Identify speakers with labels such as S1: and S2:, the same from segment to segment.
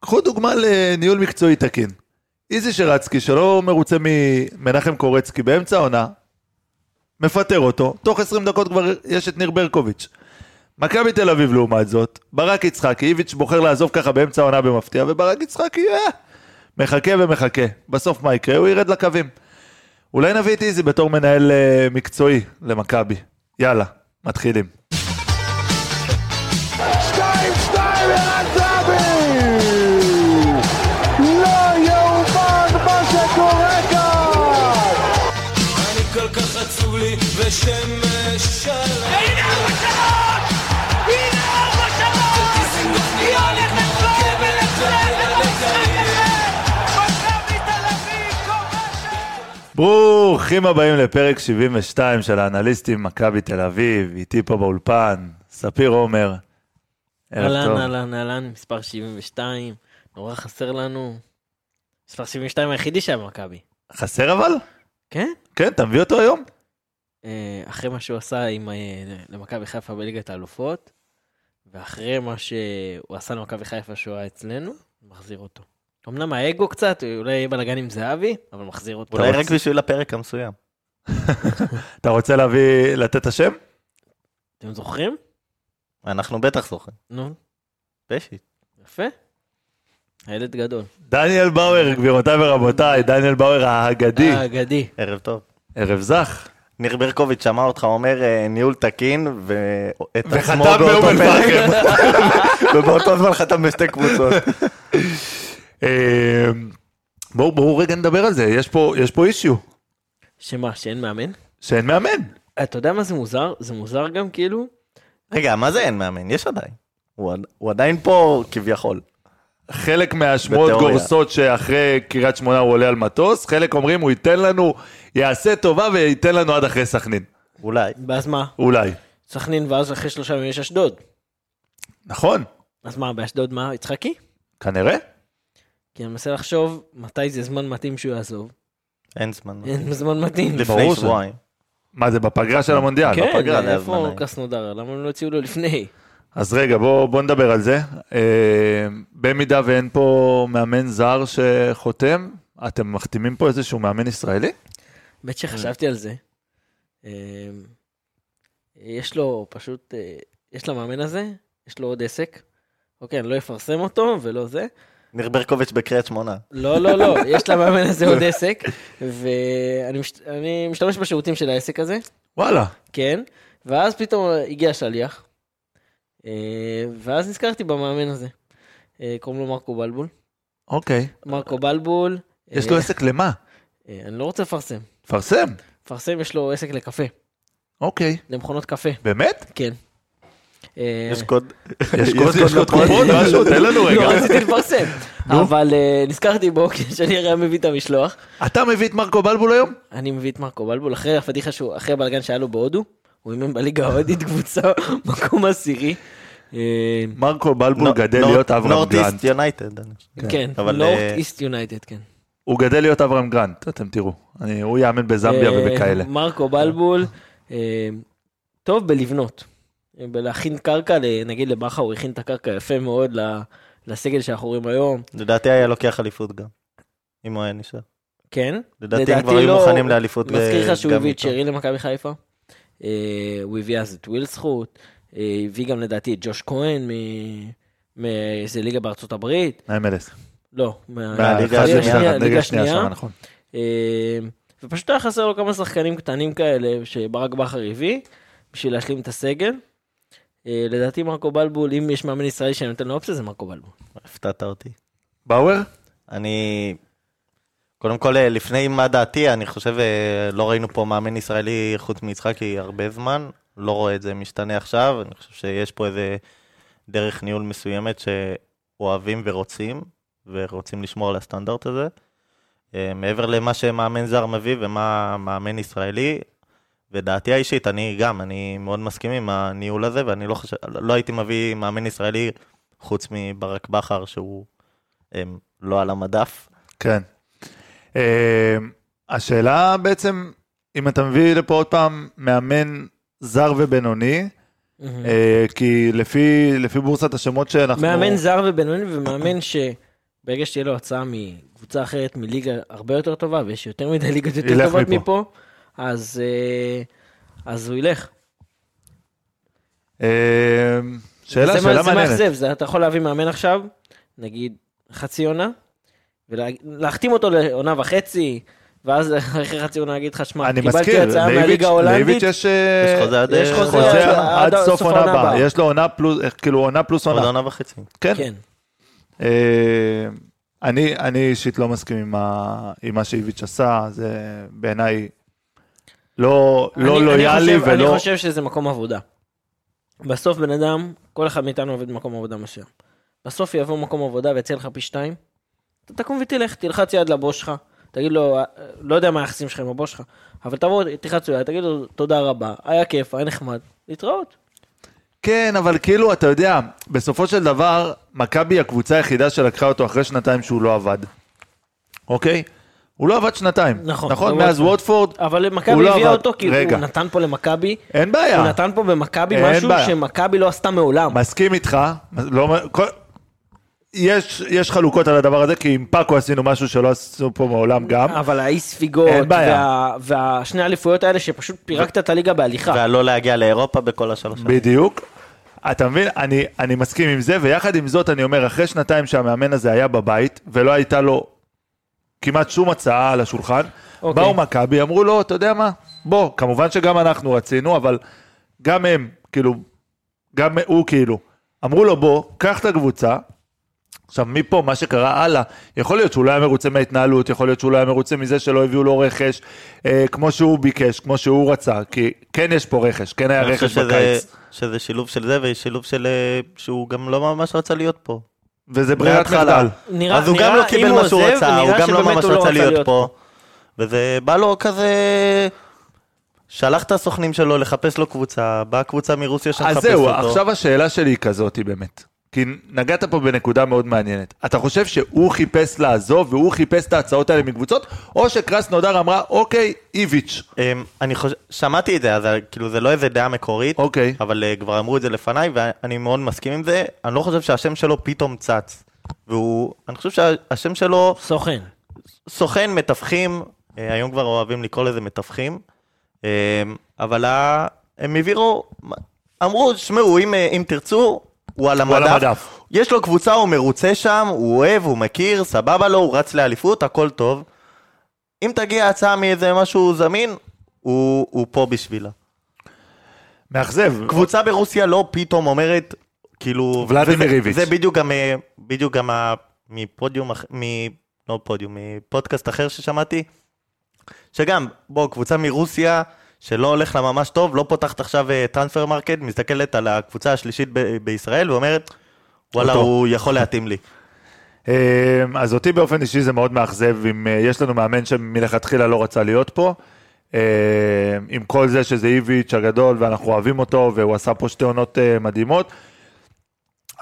S1: קחו דוגמה לניהול מקצועי תקין. איזי שרצקי, שלא מרוצה ממנחם קורצקי באמצע העונה, מפטר אותו, תוך 20 דקות כבר יש את ניר ברקוביץ'. מכבי תל אביב לעומת זאת, ברק יצחקי, איביץ' בוחר לעזוב ככה באמצע העונה במפתיע, וברק יצחקי, אה, מחכה ומחכה. בסוף מה יקרה? הוא ירד לקווים. אולי נביא את איזי בתור מנהל אה, מקצועי למכבי. יאללה, מתחילים.
S2: שתיים, שתיים, ערן זהבי! לא יאומן מה שקורה כאן!
S3: אני כל כך עצוב לי ושמש שלום.
S4: הנה ארבע שעות! הנה ארבע שעות! היא הולכת כבר ולצאת במשחק הזה! מכבי תל אביב כובשת!
S1: ברוכים הבאים לפרק 72 של האנליסטים מכבי תל אביב, איתי פה באולפן, ספיר עומר. ערב
S5: אהלן,
S1: טוב.
S5: אהלן, אהלן, מספר 72, נורא חסר לנו. מספר 72 היחידי שהיה במכבי.
S1: חסר אבל?
S5: כן?
S1: כן, אתה מביא אותו היום?
S5: אה, אחרי מה שהוא עשה עם אה, למכבי חיפה בליגת האלופות, ואחרי מה שהוא עשה למכבי חיפה שהוא היה אצלנו, מחזיר אותו. אמנם האגו קצת, אולי יהיה בלאגן עם זהבי, אבל מחזיר אותו.
S6: אולי
S1: אתה
S6: רק
S1: רוצה-
S6: בשביל הפרק המסוים.
S1: אתה רוצה להביא, לתת את השם?
S5: אתם זוכרים?
S6: אנחנו בטח זוכרים.
S5: נו,
S6: פשי.
S5: יפה. הילד גדול.
S1: דניאל באואר, גבירותיי ורבותיי, דניאל באואר האגדי.
S5: אה, אגדי.
S6: ערב טוב.
S1: ערב זך.
S6: ניר ברקוביץ' שמע אותך אומר אה, ניהול תקין, ואת עצמו
S1: וחתם
S6: באותו
S1: באומן
S6: פרק,
S1: פארקר.
S6: ובאותו זמן חתם בשתי קבוצות.
S1: אה, בואו בואו רגע נדבר על זה, יש פה- יש פה אישיו,
S5: שמה, שאין מאמן?
S1: שאין מאמן.
S5: אתה יודע מה זה מוזר? זה מוזר גם כאילו,
S6: רגע, מה זה אין מאמן? יש עדיין. הוא עד- הוא עדיין פה כביכול.
S1: חלק מהשמועות
S6: בתיאוריה.
S1: גורסות שאחרי קריית שמונה הוא עולה על מטוס, חלק אומרים הוא ייתן לנו, יעשה טובה וייתן לנו עד אחרי סכנין,
S6: אולי.
S5: ואז מה?
S1: אולי.
S5: סכנין ואז אחרי שלושה ימים יש אשדוד.
S1: נכון,
S5: אז מה, באשדוד מה, יצחקי?
S1: כנראה.
S5: כי אני מנסה לחשוב מתי זה זמן מתאים שהוא יעזוב.
S6: אין זמן.
S5: אין זמן מתאים.
S1: ברור
S6: לפני
S1: ש-
S6: שבועיים.
S1: מה זה, בפגרה של המונדיאל?
S5: כן,
S6: בפגרה,
S5: איפה
S6: להזמנה.
S5: קסנודר? למה הם לא הציעו לו לפני?
S1: אז רגע, בואו בוא נדבר על זה. אה, במידה ואין פה מאמן זר שחותם, אתם מחתימים פה איזשהו מאמן ישראלי?
S5: האמת שחשבתי על זה. אמ, יש לו פשוט, אה, יש למאמן הזה, יש לו עוד עסק. אוקיי, אני לא אפרסם אותו ולא זה.
S6: ניר ברקוביץ' בקריית שמונה.
S5: לא, לא, לא, יש למאמן הזה עוד עסק, ואני מש- אני משתמש בשירותים של העסק הזה.
S1: וואלה.
S5: כן, ואז פתאום הגיע שליח, אה, ואז נזכרתי במאמן הזה. אה, קוראים לו מרקו בלבול.
S1: אוקיי.
S5: מרקו בלבול, אה,
S1: יש לו עסק למה?
S5: אה, אני לא רוצה לפרסם.
S1: תפרסם.
S5: לפרסם יש לו עסק לקפה,
S1: אוקיי.
S5: למכונות קפה,
S1: באמת?
S5: כן. אה,
S6: יש קוד.
S1: יש קוד- יש קוד
S6: לפרסם.
S1: קופון? משהו? לא, תן לנו
S5: לא,
S1: רגע.
S5: רציתי לפרסם,
S1: נו.
S5: אבל אה, נזכרתי בו כשאני הרי מביא את המשלוח.
S1: אתה מביא את מרקו בלבול היום?
S5: אני מביא את מרקו בלבול, אחרי הפדיחה שהוא, אחרי הבלגן שהיה לו בהודו, הוא אימן בליגה ההודית קבוצה, מקום עשירי. אה,
S1: מרקו בלבול
S6: נור-
S1: גדל
S6: נור-
S1: להיות אברהם
S6: נורט
S1: גרנט.
S6: איסט יונייטד. אני חושב.
S5: כן,
S6: אבל,
S5: נורט
S6: אה,
S5: איסט יונייטד, כן.
S1: הוא גדל להיות אברהם גרנט, אתם תראו. אני- הוא יאמן בזמביה
S5: אה,
S1: ובכאלה.
S5: מרקו בלבול, אה, טוב בלבנות. אה, בלהכין קרקע, ל- נגיד לבכר, הוא הכין את הקרקע יפה מאוד ל- לסגל שאנחנו רואים היום.
S6: לדעתי היה לוקח אליפות גם. אם הוא היה נשאר.
S5: כן.
S6: לדעתי הם כבר היו
S5: לא.
S6: מוכנים לאליפות.
S5: מזכיר
S6: ב-
S5: לך שהוא
S6: גם
S5: הביא את
S6: איתו.
S5: שרי למכבי חיפה. אה, הוא הביא אז את ווילסחוט. אה, הביא גם לדעתי את ג'וש כהן מ- מאיזה ליגה בארצות הברית.
S1: מהמלס.
S5: לא, מה-
S6: מהליגה
S1: מהליגה
S6: השנייה,
S1: השנייה,
S5: ליגה
S1: ליגה השנייה
S5: שנייה.
S1: שם, נכון.
S5: אה, ופשוט היה חסר לו כמה שחקנים קטנים כאלה שברק בכר הביא בשביל להשלים את הסגל. אה, לדעתי מרקו בלבול, אם יש מאמן ישראלי שאני נותן לו אופציה זה מרקו בלבול.
S6: הפתעת אותי.
S1: באואר?
S6: אני... קודם כל, אה, לפני מה דעתי, אני חושב, אה, לא ראינו פה מאמן ישראלי חוץ מיצחקי הרבה זמן, לא רואה את זה משתנה עכשיו, אני חושב שיש פה איזה דרך ניהול מסוימת שאוהבים ורוצים, ורוצים לשמור על הסטנדרט הזה. אה, מעבר למה שמאמן זר מביא ומה מאמן ישראלי, ודעתי האישית, אני גם, אני מאוד מסכים עם הניהול הזה, ואני לא חושב, לא הייתי מביא מאמן ישראלי חוץ מברק בכר, שהוא אה, לא על המדף.
S1: כן. אה, השאלה בעצם, אם אתה מביא לפה עוד פעם מאמן זר ובינוני, אה, כי לפי, לפי בורסת השמות שאנחנו...
S5: מאמן זר ובינוני ומאמן שלא ברגע שתהיה לו הצעה מקבוצה אחרת, מליגה הרבה יותר טובה, ויש יותר מדי ליגות יותר
S1: ילך
S5: טובות
S1: מפה.
S5: מפה, אז, אה, אז הוא ילך.
S1: אה, שאלה,
S5: זה מה-
S1: שאלה
S5: זה
S1: מעניינת.
S5: מאכזב, זה- אתה יכול להביא מאמן עכשיו, נגיד חצי עונה, ולהחתים אותו לעונה וחצי, ואז אחרי חצי עונה להגיד לך, שמע,
S1: אני
S5: קיבלתי
S1: מזכיר,
S5: הצעה
S1: לאיביץ'
S5: מהליגה ההולנדית,
S1: לאיביץ' יש אה,
S6: יש חוזה עד
S5: יש
S6: אה,
S5: חוזה
S1: חוזה עד
S5: עד
S1: סוף העונה הבאה. יש לו עונה פלוס, אה, כאילו עונה פלוס
S6: עוד
S1: עונה.
S6: עונה וחצי.
S1: כן.
S5: כן.
S1: אה, אני אני אישית לא מסכים עם ה- עם מה שאיביץ' עשה, זה בעיניי לא לא
S5: אני- אני
S1: לויאלי
S5: חושב- אני
S1: ולא...
S5: חושב שזה מקום עבודה. בסוף בן אדם, כל אחד מאיתנו עובד במקום עבודה מסוים. בסוף יבוא מקום עבודה ויציע לך פי שתיים, אתה תקום ותלך, תלחץ יד לבוס שלך, תגיד לו, "אה, לא יודע מה היחסים שלך עם הבוס שלך, אבל תבוא, תלחץ יד, תגיד לו, תודה רבה, היה כיף, היה נחמד, להתראות.
S1: כן, אבל כאילו, אתה יודע, בסופו של דבר, מכבי היא הקבוצה היחידה שלקחה אותו אחרי שנתיים שהוא לא עבד. אוקיי? הוא לא עבד שנתיים.
S5: נכון,
S1: נכון,
S5: בוודפורד.
S1: מאז וודפורד,
S5: אבל מכבי
S1: הוא לא
S5: הביאה
S1: עבד.
S5: אותו, כי
S1: רגע.
S5: הוא נתן פה למכבי,
S1: אין
S5: הוא
S1: בעיה.
S5: נתן פה במכבי
S1: אין
S5: משהו
S1: בעיה.
S5: שמכבי לא עשתה מעולם.
S1: מסכים איתך. לא, כל... יש, יש חלוקות על הדבר הזה, כי עם פאקו עשינו משהו שלא עשו פה מעולם גם.
S5: אבל האי ספיגות,
S1: אין בעיה.
S5: וה- והשני האליפויות האלה שפשוט פירקת את הליגה בהליכה.
S6: והלא להגיע לאירופה בכל השלוש שנים.
S1: בדיוק. אתה מבין? אני, אני מסכים עם זה, ויחד עם זאת אני אומר, אחרי שנתיים שהמאמן הזה היה בבית, ולא הייתה לו כמעט שום הצעה על השולחן,
S5: אוקיי.
S1: אוקיי. באו מכבי, אמרו לו, אתה יודע מה, בוא, כמובן שגם אנחנו רצינו, אבל גם הם, כאילו, גם הוא כאילו, אמרו לו, בוא, קח את הקבוצה, עכשיו, מפה, מה שקרה הלאה, יכול להיות שהוא לא היה מרוצה מההתנהלות, יכול להיות שהוא לא היה מרוצה מזה שלא הביאו לו רכש, אה, כמו שהוא ביקש, כמו שהוא רצה, כי כן יש פה רכש, כן היה
S6: אני חושב
S1: רכש
S6: שזה-
S1: בקיץ.
S6: שזה שילוב של זה ושילוב של אה, שהוא גם לא ממש רצה להיות פה.
S1: וזה ברירת
S6: מההתחלה.
S1: מחדל.
S5: נראה-
S6: אז הוא
S5: נראה-
S6: גם לא
S5: אם
S6: קיבל
S5: הוא
S6: מה שהוא
S5: עוזב,
S6: רצה, הוא
S5: נראה
S6: גם לא
S5: שבאמת
S6: ממש
S5: הוא
S6: רצה להיות פה. וזה בא לו כזה... שלח את הסוכנים שלו לחפש לו קבוצה, באה קבוצה מרוסיה שמחפשת
S1: אז
S6: אותו.
S1: זהו, עכשיו השאלה שלי היא כזאת, היא באמת. כי נגעת פה בנקודה מאוד מעניינת. אתה חושב שהוא חיפש לעזוב והוא חיפש את ההצעות האלה מקבוצות, או שקרס נודר אמרה, אוקיי, איביץ'.
S6: אמ, אני חושב, שמעתי את זה, אז אה, כאילו זה לא איזה דעה מקורית,
S1: אוקיי.
S6: אבל אה, כבר אמרו את זה לפניי, ואני מאוד מסכים עם זה. אני לא חושב שהשם שלו פתאום צץ. והוא, אני חושב שהשם שלו
S5: סוכן.
S6: סוכן, מתווכים, אה, היום כבר אוהבים לקרוא לזה מתווכים, אה, אבל ה- הם העבירו, אמ, אמרו, שמעו, אם, אה, אם תרצו, הוא על
S1: על
S6: המדף.
S1: המדף.
S6: יש לו קבוצה, הוא מרוצה שם, הוא אוהב, הוא מכיר, סבבה לו, הוא רץ לאליפות, הכל טוב. אם תגיע הצעה מאיזה משהו זמין, הוא, הוא פה בשבילה.
S1: מאכזב.
S6: קבוצה ברוסיה לא פתאום אומרת, כאילו...
S1: ולדימיר
S6: וזה-
S1: איביץ'.
S6: זה בדיוק גם, אה, בדיוק גם ה- מפודיום, אח- מ... לא פודיום, מפודקאסט אחר ששמעתי, שגם, בוא, קבוצה מרוסיה שלא הולך לה ממש טוב, לא פותחת עכשיו אה, טרנספר מרקט, מסתכלת על הקבוצה השלישית ב- בישראל ואומרת, וואלה,
S1: אותו."
S6: הוא יכול להתאים לי.
S1: אה, אז אותי באופן אישי זה מאוד מאכזב אם אה, יש לנו מאמן שמלכתחילה לא רצה להיות פה. אה, עם כל זה שזה איביץ' הגדול ואנחנו אוהבים אותו והוא עשה פה שתי עונות אה, מדהימות.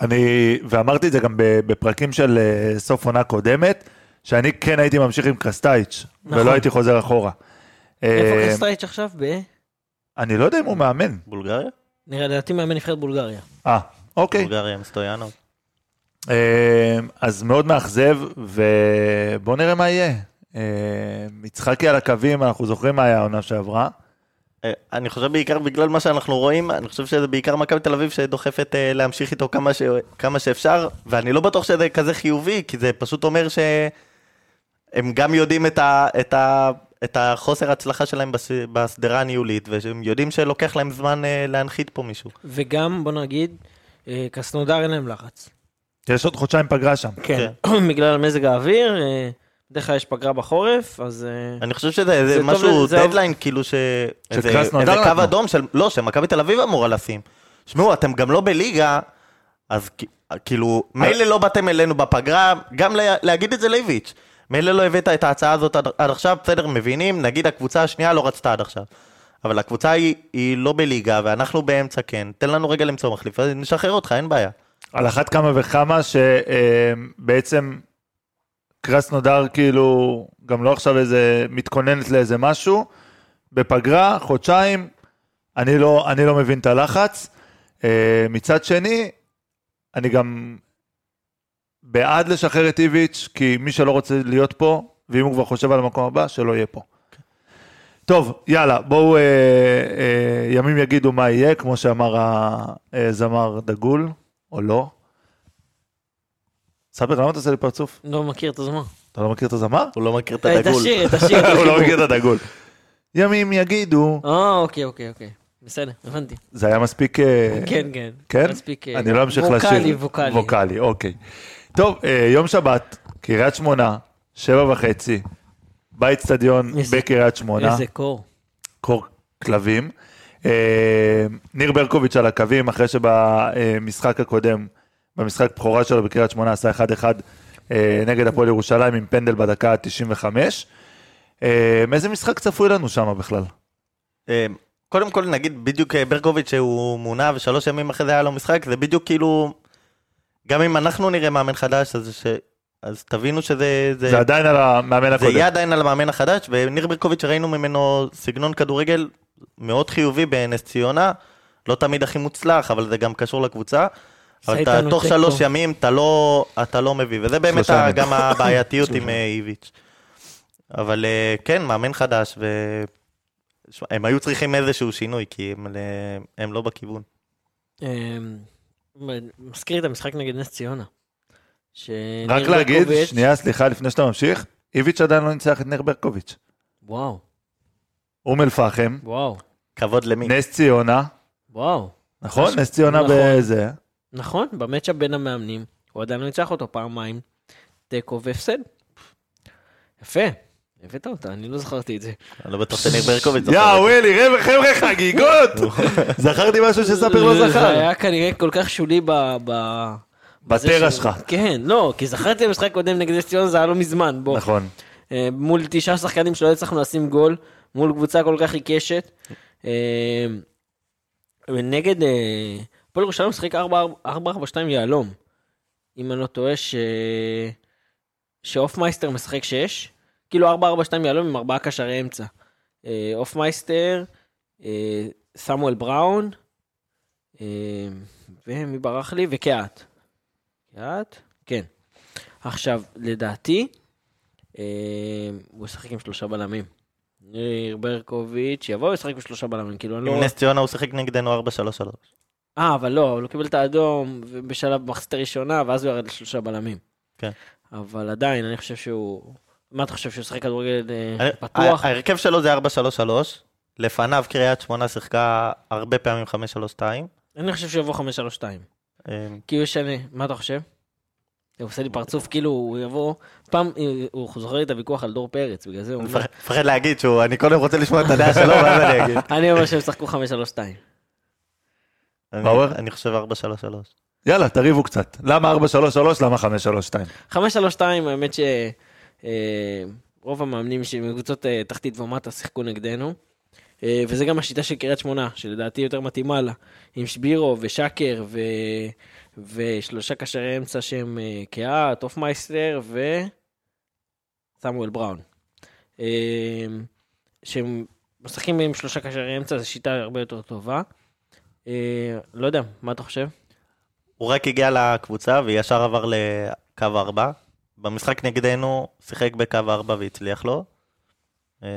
S1: אני, ואמרתי את זה גם ב- בפרקים של אה, סוף עונה קודמת, שאני כן הייתי ממשיך עם קרסטייץ'
S5: נכון.
S1: ולא הייתי חוזר אחורה. אה,
S5: איפה קסטרייץ' עכשיו? ב...
S1: אני לא יודע אם הוא מאמן.
S6: בולגריה?
S5: נראה לדעתי מאמן נבחרת בולגריה.
S1: אה, אוקיי.
S6: בולגריה עם סטויאנוב.
S1: אה, אז מאוד מאכזב, ובואו נראה מה יהיה. אה, יצחקי על הקווים, אנחנו זוכרים מה היה העונה שעברה.
S6: אה, אני חושב בעיקר בגלל מה שאנחנו רואים, אני חושב שזה בעיקר מכבי תל אביב שדוחפת אה, להמשיך איתו כמה, ש... כמה שאפשר, ואני לא בטוח שזה כזה חיובי, כי זה פשוט אומר שהם גם יודעים את, ה... את, ה... את החוסר הצלחה שלהם בס... בסדרה הניהולית, והם יודעים שלוקח להם זמן אה, להנחית פה מישהו.
S5: וגם, בוא נגיד, אה, קסנודר אין להם לחץ.
S1: יש עוד חודשיים פגרה שם.
S5: כן. בגלל מזג האוויר, אה, בדרך כלל יש פגרה בחורף, אז... אה,
S6: אני חושב
S5: זה
S6: שזה זה
S5: טוב
S6: משהו,
S5: ל- זה-
S6: דדליין, כאילו ש... איזה
S1: שקרס נתן
S6: איזה
S1: לנו.
S6: קו אדום של... לא, שמכבי תל אביב אמורה לשים. שמעו, אתם גם לא בליגה, אז כ- כאילו, מילא לא באתם אלינו בפגרה, גם לה- להגיד את זה לאיביץ'. מילא לא הבאת את ההצעה הזאת עד, עד עכשיו, בסדר, מבינים, נגיד הקבוצה השנייה לא רצתה עד עכשיו. אבל הקבוצה היא, היא לא בליגה, ואנחנו באמצע כן. תן לנו רגע למצוא מחליף, אז נשחרר אותך, אין בעיה.
S1: על אחת כמה וכמה שבעצם קרסנודר כאילו, גם לא עכשיו איזה, מתכוננת לאיזה משהו, בפגרה, חודשיים, אני לא, אני לא מבין את הלחץ. אה, מצד שני, אני גם בעד לשחרר את איביץ', כי מי שלא רוצה להיות פה, ואם הוא כבר חושב על המקום הבא, שלא יהיה פה. טוב, יאללה, בואו, אה, אה, ימים יגידו מה יהיה, כמו שאמר הזמר דגול, או לא. ספר, למה אתה עושה לי פרצוף?
S5: לא מכיר את הזמן.
S1: אתה לא מכיר את הזמר?
S6: הוא לא מכיר את
S5: אה,
S6: הדגול.
S5: תשאיר, תשאיר.
S1: הוא לא מכיר את הדגול. ימים יגידו,
S5: אה, אוקיי, אוקיי, אוקיי. בסדר, הבנתי.
S1: זה היה מספיק... אה,
S5: כן, כן.
S1: כן?
S5: מספיק, אה,
S1: אני לא אמשיך לשיר.
S5: ווקאלי, ווקאלי.
S1: ווקאלי, אוקיי. טוב, אה, יום שבת, קריית שמונה, שבע וחצי, באיצטדיון
S5: איזה-
S1: בקריית שמונה,
S5: איזה קור.
S1: קור כלבים. אה, ניר ברקוביץ' על הקווים, אחרי שבמשחק הקודם, במשחק בכורה שלו בקריית שמונה, עשה 1-1 אה, נגד הפועל ירושלים עם פנדל בדקה ה-95. אה, איזה משחק צפוי לנו שם בכלל?
S6: אה, קודם כל נגיד בדיוק אה, ברקוביץ' שהוא מונה ושלוש ימים אחרי זה היה לו משחק, זה בדיוק כאילו, גם אם אנחנו נראה מאמן חדש, אז, ש... אז תבינו שזה...
S1: זה עדיין על המאמן
S6: זה
S1: הקודם.
S6: יהיה עדיין על המאמן החדש, וניר ברקוביץ' ראינו ממנו סגנון כדורגל מאוד חיובי בנס ציונה, לא תמיד הכי מוצלח, אבל זה גם קשור לקבוצה. אבל אתה
S5: איתנו
S6: תוך
S5: תיקו.
S6: שלוש ימים אתה לא, אתה לא מביא, וזה באמת
S1: שלושה
S6: ה-
S1: ימים.
S6: גם הבעייתיות עם אה, איביץ'. אבל אה, כן, מאמן חדש, ו... שמע, הם היו צריכים איזשהו שינוי, כי הם, ל- הם לא בכיוון.
S5: אמ, מזכיר את המשחק נגד נס ציונה. שניר
S1: רק להגיד,
S5: ברקוביץ'-
S1: שנייה, סליחה, לפני שאתה ממשיך, איביץ' עדיין לא ניצח את ניר ברקוביץ'.
S5: וואו,
S1: אום אל-פחם,
S5: וואו,
S6: כבוד למי?
S1: נס ציונה,
S5: וואו.
S1: נכון?
S5: נכון.
S1: נס ציונה
S5: נכון.
S1: בזה.
S5: נכון, במצ'אפ בין המאמנים, הוא עדיין לא ניצח אותו פעמיים, תיקו והפסד. יפה, הבאת אותה, אני לא זכרתי את זה.
S6: אני לא בטוח שניר ברקוביץ' זוכר
S1: יא
S6: את זה. נכון.
S1: ווילי, רבע חבר'ה חגיגות! זכרתי משהו שספיר לא
S5: זה
S1: זכר.
S5: היה כנראה כל כך שולי ב... ב... בזה
S1: בטרה
S5: ש-
S1: שלך.
S5: כן, לא, כי זכרתי במשחק קודם נגד נס ציונה, זה היה לא מזמן, בוא.
S1: נכון.
S5: אה, מול תשעה שחקנים שלא הצלחנו לשים גול, מול קבוצה כל כך עיקשת. אה, ונגד, אה, הפועל ירושלים משחק 4-4-2 יהלום. אם אני לא טועה, ש... שאופמייסטר משחק 6, כאילו 4-4-2 יהלום עם ארבעה קשרי אמצע. אה, אופמייסטר, אה, סמואל בראון, אה, ומי ברח לי? וקיאט. קיאט? כן. עכשיו, לדעתי, אה, הוא ישחק עם שלושה בלמים. ניר ברקוביץ' יבוא וישחק עם שלושה בלמים, כאילו אני לא...
S6: עם נס ציונה הוא שיחק נגדנו 4-3-3.
S5: אה, אבל לא, אבל הוא קיבל את האדום בשלב מחצית הראשונה, ואז הוא ירד לשלושה בלמים.
S6: כן.
S5: אבל עדיין, אני חושב שהוא... מה אתה חושב, שהוא ישחק כדורגל אה,
S6: הר-
S5: פתוח?
S6: ה- ההרכב שלו זה 4-3-3, לפניו קריית שמונה שיחקה הרבה פעמים 5-3-2.
S5: אני חושב שהוא יבוא 5-3-2.
S6: אה,
S5: כי הוא ישנה, כאילו, מה אתה חושב? הוא עושה לי פרצוף, כאילו הוא יבוא... פעם, אה, הוא זוכר לי את הוויכוח על דור פרץ, בגלל זה הוא
S6: אני
S5: אומר...
S6: מפחד- מפחד להגיד שהוא, אני קודם רוצה לשמוע את הדעה שלו, ואז אני אגיד.
S5: אני אומר שהם ישחקו 5-3-2.
S6: אני-
S1: מה אומר?
S6: אני חושב 4-3-3.
S1: יאללה, תריבו קצת. למה 433? למה 532?
S5: 5-3-2, האמת ש... אה, רוב המאמנים מקבוצות אה, תחתית ומטה שיחקו נגדנו. אה, וזה גם השיטה של קריית שמונה, שלדעתי יותר מתאימה לה, עם שבירו ושקר ו... ושלושה קשרי אמצע שהם אה, קהת, הופמייסטר ו... סמואל בראון. אה, שהם משחקים עם שלושה קשרי אמצע, זו שיטה הרבה יותר טובה. אה, לא יודע, מה אתה חושב?
S6: הוא רק הגיע לקבוצה וישר עבר לקו 4. במשחק נגדנו, שיחק בקו 4 והצליח לו. אה,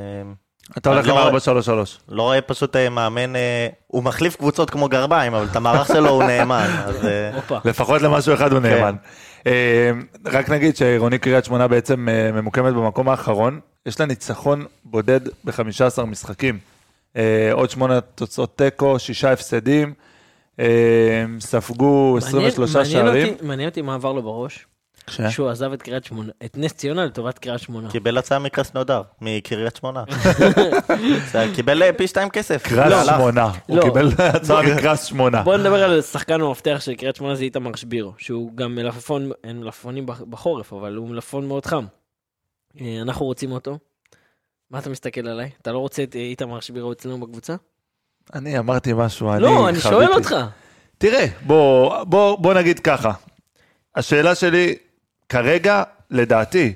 S1: אתה הולך
S6: לא
S1: עם
S6: רואה.
S1: 433.
S6: לא רואה פשוט אה, מאמן, אה, הוא מחליף קבוצות כמו גרביים, אבל את המערך שלו הוא נאמן. אז אה,
S5: הופה.
S1: לפחות למשהו אחד הוא נאמן.
S6: כן.
S1: אה, רק נגיד שעירוני קריית שמונה בעצם אה, ממוקמת במקום האחרון. יש לה ניצחון בודד ב-15 משחקים. אה, עוד שמונה תוצאות תיקו, שישה הפסדים. אה, ספגו 23
S5: מעניין- מעניין
S1: שערים.
S5: אותי- מעניין אותי מה עבר לו בראש.
S6: כן.
S1: אה?
S5: שהוא עזב את קריית שמונה, את נס ציונה לטובת קריית שמונה.
S1: כן.
S6: נכון. קיבל הצעה מקרסנודר, מקריית שמונה. בסדר, קיבל אה, פי שתיים כסף. לא,
S1: קרס
S6: הלך.
S1: שמונה, הוא
S5: לא.
S1: קיבל הצעה מקרס שמונה.
S5: בואו נדבר על שחקן המפתח של קריית שמונה זה איתמר שבירו, שהוא גם מלפפון, אין מלפפונים בח- בחורף, אבל הוא מלפפון מאוד חם. אה, אנחנו רוצים אותו. מה אתה מסתכל עליי? אתה לא רוצה את אה, איתמר שבירו אצלנו בקבוצה?
S1: אני אמרתי משהו, אני
S5: לא, אני
S1: חוויתי.
S5: שואל אותך.
S1: תראה, בוא, בוא, בוא נגיד ככה. השאלה שלי, כרגע, לדעתי,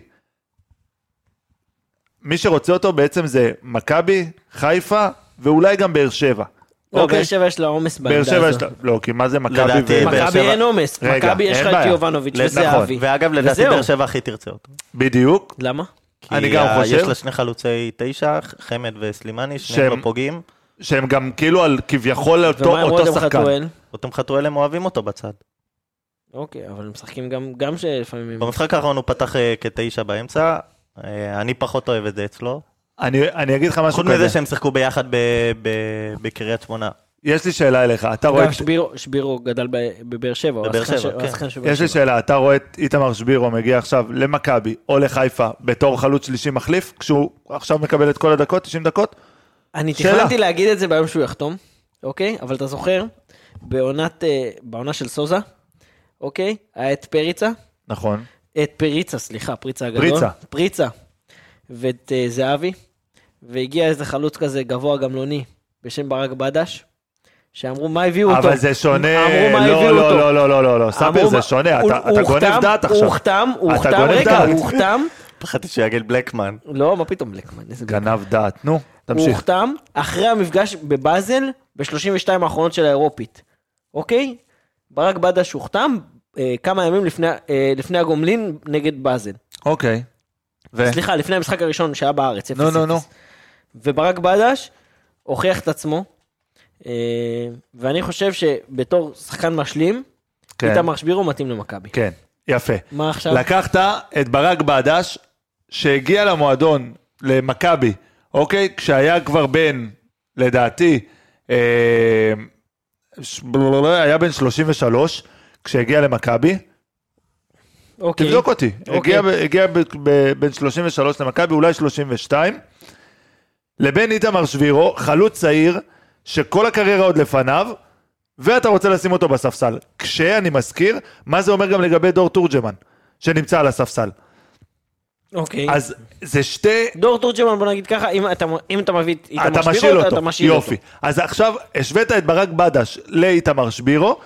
S1: מי שרוצה אותו בעצם זה מכבי, חיפה, ואולי גם באר שבע.
S5: לא,
S1: אוקיי.
S5: באר שבע יש לה עומס
S1: באר
S5: בעמדה
S1: שבע יש
S5: הזאת.
S1: לה... לא, כי מה זה מכבי
S6: לדעתי,
S1: ו...
S6: באר
S5: מכבי
S6: שבע-
S5: אין עומס,
S1: רגע,
S5: מכבי יש
S1: אין
S5: לך את
S1: בעיה. נכון.
S5: יובנוביץ'
S1: ל-
S5: וזהבי.
S6: ואגב, לדעתי
S5: וזהו.
S6: באר שבע הכי תרצה אותו.
S1: בדיוק.
S5: למה?
S6: כי
S1: אני גם
S6: ה-
S1: חושב.
S6: יש לה שני חלוצי תשע, חמד וסלימני, שניהם
S1: שהם-
S6: לא פוגעים.
S1: שהם גם כאילו על כביכול אותו,
S5: ומה עם
S1: אותו
S5: רותם
S1: שחקן.
S5: חתואל?
S6: אותם חתואל הם אוהבים אותו בצד.
S5: אוקיי, אבל הם משחקים גם- גם שלפעמים...
S6: במשחק האחרון הוא פתח אה, כתשע באמצע, אה, אני פחות אוהב את זה אצלו.
S1: אני, אני אגיד לך משהו
S6: חוץ מזה
S1: כזה.
S6: שהם שיחקו ביחד ב- ב- בקריית שמונה.
S1: יש לי שאלה אליך. אתה רואה...
S5: גם שבירו- שבירו גדל ב- בבאר שבע, הוא
S6: בבאר
S5: השחקן
S6: שבע,
S5: ש- הוא
S6: כן.
S5: השחקן של באר
S1: יש לי
S5: שבע.
S1: שאלה, אתה רואה את איתמר שבירו מגיע עכשיו למכבי או לחיפה בתור חלוץ שלישי מחליף, כשהוא עכשיו מקבל את כל הדקות, 90 דקות?
S5: אני
S1: שאלה.
S5: תכננתי להגיד את זה ביום שהוא יחתום, אוקיי? אבל אתה זוכר, בעונת, אה, בעונה של סוזה, אוקיי? היה את פריצה,
S1: נכון.
S5: את פריצה, סליחה, פריצה הגדול.
S1: פריצה.
S5: פריצה. ואת אה, זהבי, והגיע איזה חלוץ כזה גבוה גמלוני בשם ברק בדש, שאמרו מה הביאו אותו.
S1: אבל זה שונה,
S5: אמרו מה
S1: לא,
S5: הביאו
S1: לא,
S5: אותו.
S1: לא, לא, לא, לא, לא, סביר,
S5: אמרו,
S1: זה
S5: מה-
S1: שונה,
S5: הוא-
S1: אתה
S5: הוא
S1: אתה גונב
S5: הוחתם,
S1: דעת עכשיו.
S5: הוא הוחתם, הוא
S1: אתה
S5: הוחתם,
S1: גונב
S5: רגע,
S1: דעת.
S5: הוא הוחתם.
S6: פחדתי שיגיד בלקמן.
S5: לא, מה פתאום בלקמן, איזה בלקמן.
S1: גנב דעת, נו,
S5: הוא
S1: תמשיך.
S5: הוחתם אחרי המפגש בבאזל ב-32 האחרונות של האירופית, אוקיי? ברק בדש הוחתם אה, כמה ימים לפני, אה, לפני הגומלין נגד באזל.
S1: אוקיי. ו-
S5: סליחה, לפני המשחק הראשון שהיה בארץ, 0-0.
S1: נו, נו, נו.
S5: וברק בדש הוכיח את עצמו, אה, ואני חושב שבתור שחקן משלים,
S1: כן.
S5: איתמר שבירו מתאים למכבי.
S1: כן, יפה.
S5: מה עכשיו?
S1: לקחת את ברק בדש, שהגיע למועדון, למכבי, אוקיי? כשהיה כבר בן, לדעתי, אה, ש- היה בן 33, כשהגיע למכבי.
S5: אוקיי.
S1: תבדוק אותי.
S5: אוקיי.
S1: הגיע, ב- הגיע ב, ב, בין 33 למכבי, אולי 32. לבין איתמר שבירו, חלוץ צעיר, שכל הקריירה עוד לפניו, ואתה רוצה לשים אותו בספסל. כשאני מזכיר, מה זה אומר גם לגבי דור תורג'מן, שנמצא על הספסל.
S5: אוקיי.
S1: אז זה שתי...
S5: דור תורג'מן, בוא נגיד ככה, אם אתה, אם אתה מביא את איתמר
S1: אתה
S5: שבירו,
S1: משאיל
S5: אתה-
S1: אותו.
S5: אתה משאיר
S1: יופי.
S5: אותו.
S1: אז עכשיו השווית את ברק בדש לאיתמר שבירו,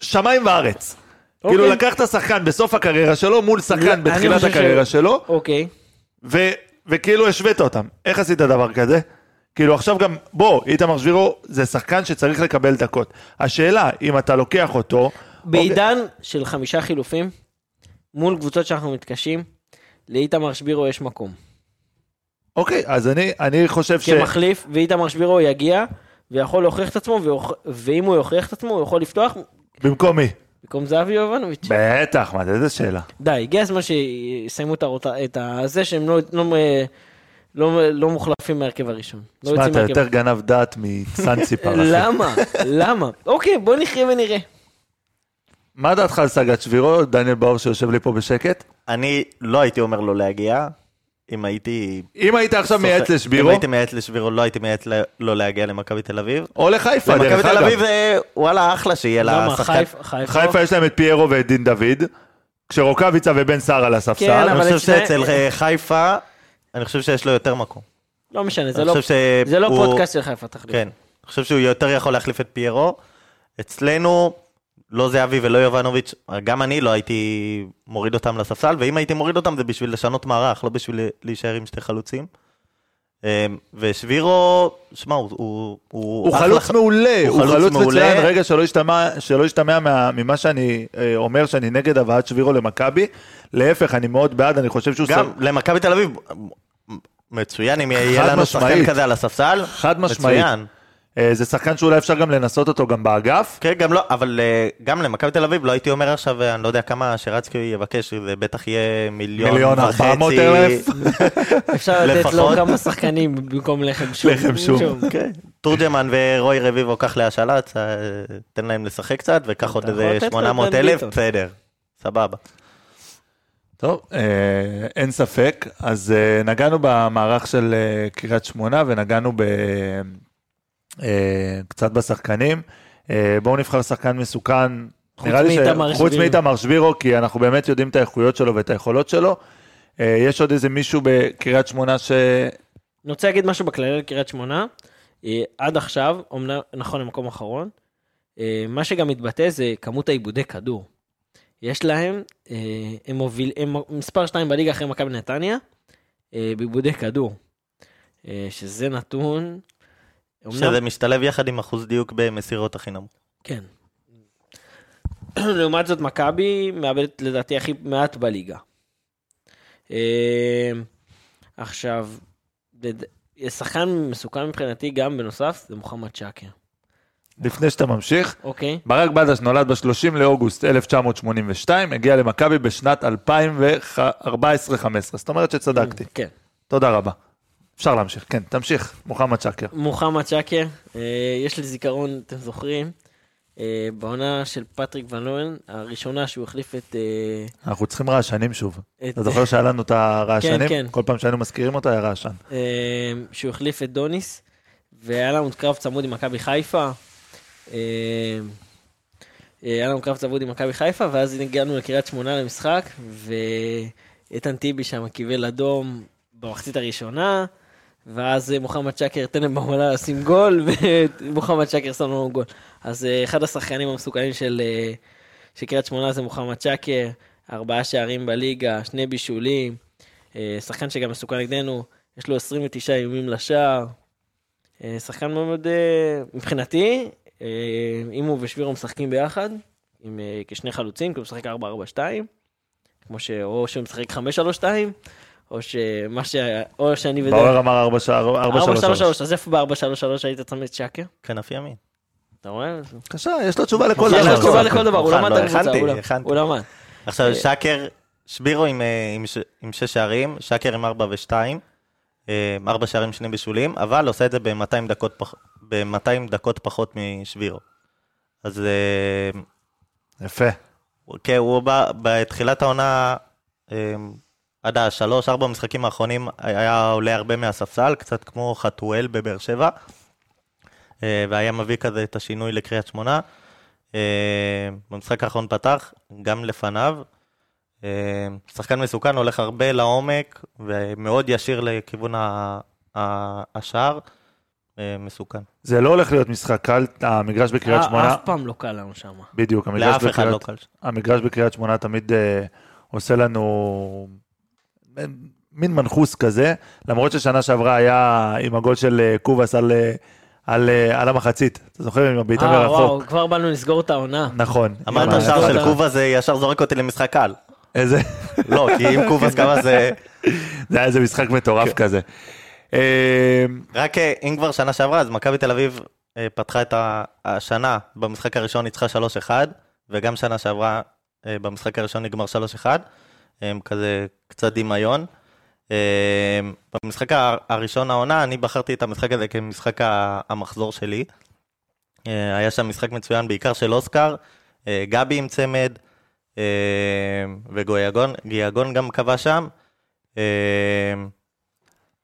S1: שמיים וארץ. כאילו לקחת שחקן בסוף הקריירה שלו מול שחקן
S5: אוקיי. אני
S1: בתחילת
S5: חושב ש-
S1: הקריירה שלו,
S5: אוקיי.
S1: ו, וכאילו השווית אותם. איך עשית דבר כזה? כאילו עכשיו גם, בוא, איתמר שבירו זה שחקן שצריך לקבל דקות. השאלה, אם אתה לוקח אותו...
S5: בעידן של חמישה חילופים, מול קבוצות שאנחנו מתקשים, לאיתמר שבירו יש מקום.
S1: אוקיי, אוקיי אז אני, אני חושב ש...
S5: כמחליף, ואיתמר שבירו יגיע, ויכול להוכיח את עצמו, ויוכ... ואם הוא יוכיח את עצמו, הוא יכול לפתוח
S1: במקום מי?
S5: במקום זהבי יובנוביץ'.
S1: בטח, מה זה, איזה שאלה.
S5: די, הגיע הזמן שיסיימו את, הרות... את הזה, שהם לא, לא, לא, לא, לא מוחלפים מהרכב הראשון. לא
S1: תשמע,
S5: יוצאים
S1: אתה
S5: מהרכב
S1: יותר גנב דעת מסנציפר, אחי.
S5: למה? למה? אוקיי, בוא נחיה ונראה.
S1: מה דעתך על סגת שבירו, דניאל באור שיושב לי פה בשקט?
S6: אני לא הייתי אומר לו להגיע, אם הייתי...
S1: אם היית עכשיו מייעץ
S6: סופר-
S1: לשבירו,
S6: אם הייתי מייעץ לשבירו, לא הייתי מייעץ ל- לא להגיע למכבי תל אביב.
S1: או לחיפה,
S6: למכבי
S1: דרך
S6: תל
S1: אגב.
S6: אביב, אה, וואלה, אחלה שיהיה לה
S5: למה?
S6: שחקן.
S5: חיפה? חיפה?
S1: חיפה יש להם את פיירו ואת דין דוד, כשרוקאביצה ובן סער על הספסל.
S5: כן,
S6: אני
S5: אבל
S6: חושב
S5: אצלהם-
S6: שאצל אה, חיפה, אני חושב שיש לו יותר מקום.
S5: לא משנה, זה
S6: אני
S5: לא,
S6: חושב ש-
S5: זה לא
S6: הוא-
S5: פודקאסט של חיפה, תחליט.
S6: כן. אני חושב שהוא יותר יכול להחליף את פיירו. אצלנו, לא זהבי ולא יובנוביץ', גם אני לא הייתי מוריד אותם לספסל, ואם הייתי מוריד אותם זה בשביל לשנות מערך, לא בשביל להישאר עם שתי חלוצים. אה, ושבירו, שמע, הוא... הוא,
S1: הוא
S6: אחלה
S1: חלוץ
S6: ח-
S1: מעולה,
S6: הוא
S1: הוא
S6: חלוץ
S1: חלוץ
S6: מעולה.
S1: מצוין, רגע שלא ישתמע, שלא ישתמע מה, ממה שאני אה, אומר שאני נגד הבאת שבירו למכבי, להפך אני מאוד בעד, אני חושב שהוא
S6: גם
S1: שר-
S6: למכבי תל אביב, מצוין אם יהיה
S1: חד
S6: לנו שחקן
S1: משמעית.
S6: כזה על הספסל.
S1: חד משמעית.
S6: מצוין.
S1: אה, זה שחקן שאולי אפשר גם לנסות אותו גם באגף,
S6: כן, גם לא, אבל אה, גם למכבי תל אביב לא הייתי אומר עכשיו, אה, אני לא יודע כמה שרצקי יבקש, זה בטח יהיה מיליון
S1: מיליון
S6: וחצי.
S1: ארבע מאות אלף.
S5: אפשר לתת לו
S6: לפחות.
S5: כמה שחקנים במקום לחם שום.
S1: לחם שום.
S6: כן. תורג'מן ורוי רביבו, קח להשאלת, אה, תן להם לשחק קצת, וקח עוד
S5: אתה יכול
S6: איזה
S5: לתת לו את
S6: 800
S5: בן
S6: אלף,
S5: ביטון.
S6: בסדר, סבבה.
S1: טוב, אה, אין ספק, אז אה, נגענו במערך של אה, קריית שמונה ונגענו ב, אה, קצת בשחקנים, אה, בואו נבחר שחקן מסוכן,
S5: חוץ
S1: נראה לי ש-
S5: מאיתמר
S1: חוץ
S5: שבירו.
S1: מאיתמר שבירו, כי אנחנו באמת יודעים את האיכויות שלו ואת היכולות שלו. אה, יש עוד איזה מישהו בקריית שמונה ש...
S5: אני רוצה להגיד משהו בכללי על קריית שמונה. אה, עד עכשיו, אומנם, נכון, הם מקום אחרון, אה, מה שגם מתבטא זה כמות העיבודי כדור. יש להם, אה, הם, מוביל, הם מספר 2 בליגה אחרי מכבי נתניה, אה, בעיבודי כדור. אה, שזה נתון
S6: שזה משתלב יחד עם אחוז דיוק במסירות הכי נמוך.
S5: כן. לעומת זאת, מכבי מאבדת לדעתי הכי מעט בליגה. אה, עכשיו, לד- שחקן מסוכן מבחינתי גם בנוסף, זה מוחמד שקר,
S1: לפני שאתה ממשיך,
S5: אוקיי?
S1: ברק בדש נולד ב-30 לאוגוסט 1982, הגיע למכבי בשנת 2014-2015, זאת אומרת שצדקתי.
S5: כן.
S1: תודה רבה. אפשר להמשיך, כן, תמשיך, מוחמד שקר.
S5: מוחמד שקר, אה, יש לי זיכרון, אתם זוכרים, אה, בעונה של פטריק ון לוין, הראשונה שהוא החליף את... אה,
S1: אנחנו צריכים רעשנים שוב.
S5: את-
S1: אתה זוכר שהיה לנו את הרעשנים?
S5: אה, כן, כן.
S1: כל פעם שהיינו מזכירים אותו היה רעשן.
S5: אה, שהוא החליף את דוניס, והיה לנו קרב צמוד עם מכבי חיפה. אה, אה, היה לנו קרב צמוד עם מכבי חיפה, ואז הגענו לקריית שמונה למשחק, ואיתן טיבי שם קיבל אדום במחצית הראשונה, ואז אה, מוחמד שקר טננבאום עלה לשים גול, ומוחמד שקר שם לנו גול. אז אה, אחד השחקנים המסוכנים של, אה, של קריית שמונה זה מוחמד שקר, ארבעה שערים בליגה, שני בישולים, אה, שחקן שגם מסוכן נגדנו, יש לו 29 איומים לשער. אה, שחקן מאוד, אה, מבחינתי, אה, אם הוא ושבירו משחקים ביחד, עם, אה, כשני חלוצים, כי הוא משחק 4-4-2, כמו ש... או שהוא משחק 5-3-2, או שמה ש... או שאני ודאי...
S1: באואר אמר 4 שער, 4 3 3.
S5: 4-3-3, אז איפה ב-4-3-3 היית צמד שקר?
S6: כנף ימין.
S5: אתה רואה?
S1: בבקשה, יש לו תשובה לכל
S5: יש
S6: מוכן,
S1: דבר.
S5: לו תשובה
S6: הכנתי,
S5: לכל דבר, הוא
S6: מוכן,
S5: למד
S6: לא,
S5: את הקבוצה,
S6: הכנתי,
S5: הוא למד-
S6: הכנתי.
S5: הוא למד.
S6: עכשיו, שקר, שבירו עם, אה, עם, ש- עם שש שערים, שקר עם ארבע ושתיים, אה, ארבע שערים, שני בישולים, אבל עושה את זה ב-200 דקות, פח, ב-200 דקות פחות משבירו. אז אה,
S1: יפה.
S6: כן, הוא בא, בתחילת העונה, אה, עד השלוש, ארבע משחקים האחרונים, היה עולה הרבה מהספסל, קצת כמו חתואל בבאר שבע, אה, והיה מביא כזה את השינוי לקריית שמונה. אה, במשחק האחרון פתח, גם לפניו. אה, שחקן מסוכן, הולך הרבה לעומק, ומאוד ישיר לכיוון ה- ה- השער. אה, מסוכן.
S1: זה לא הולך להיות משחק קל, המגרש בקריית שמונה,
S5: אף פעם לא קל לנו שם.
S1: בדיוק, המגרש
S6: לאף אחד
S1: בקריית
S6: לא קל.
S1: המגרש בקריית שמונה תמיד אה, עושה לנו אה, מין מנחוס כזה, למרות ששנה שעברה היה עם הגול של אה, קובאס על, אה, על, אה, על המחצית, אתה זוכר עם הבעיטה
S5: אה,
S1: מרחוק,
S5: וואו, כבר באנו לסגור את העונה.
S1: נכון. עם ה-
S6: אמרת שער של קובה זה ישר זורק אותי למשחק קל.
S1: איזה,
S6: לא, כי אם קובאס כמה זה...
S1: זה היה איזה משחק
S6: כן.
S1: מטורף כזה. אה,
S6: רק אה, אם כבר שנה שעברה, אז מכבי תל אביב אה, פתחה את ה- השנה, במשחק הראשון ניצחה 3-1, וגם שנה שעברה אה, במשחק הראשון נגמר 3-1, אה, כזה קצת דמיון. אה, במשחק ה- הראשון העונה, אני בחרתי את המשחק הזה כמשחק ה- המחזור שלי. אה, היה שם משחק מצוין, בעיקר של אוסקר, אה, גבי עם צמד, אה, וגויגון גיאגון גם קבע שם. אה,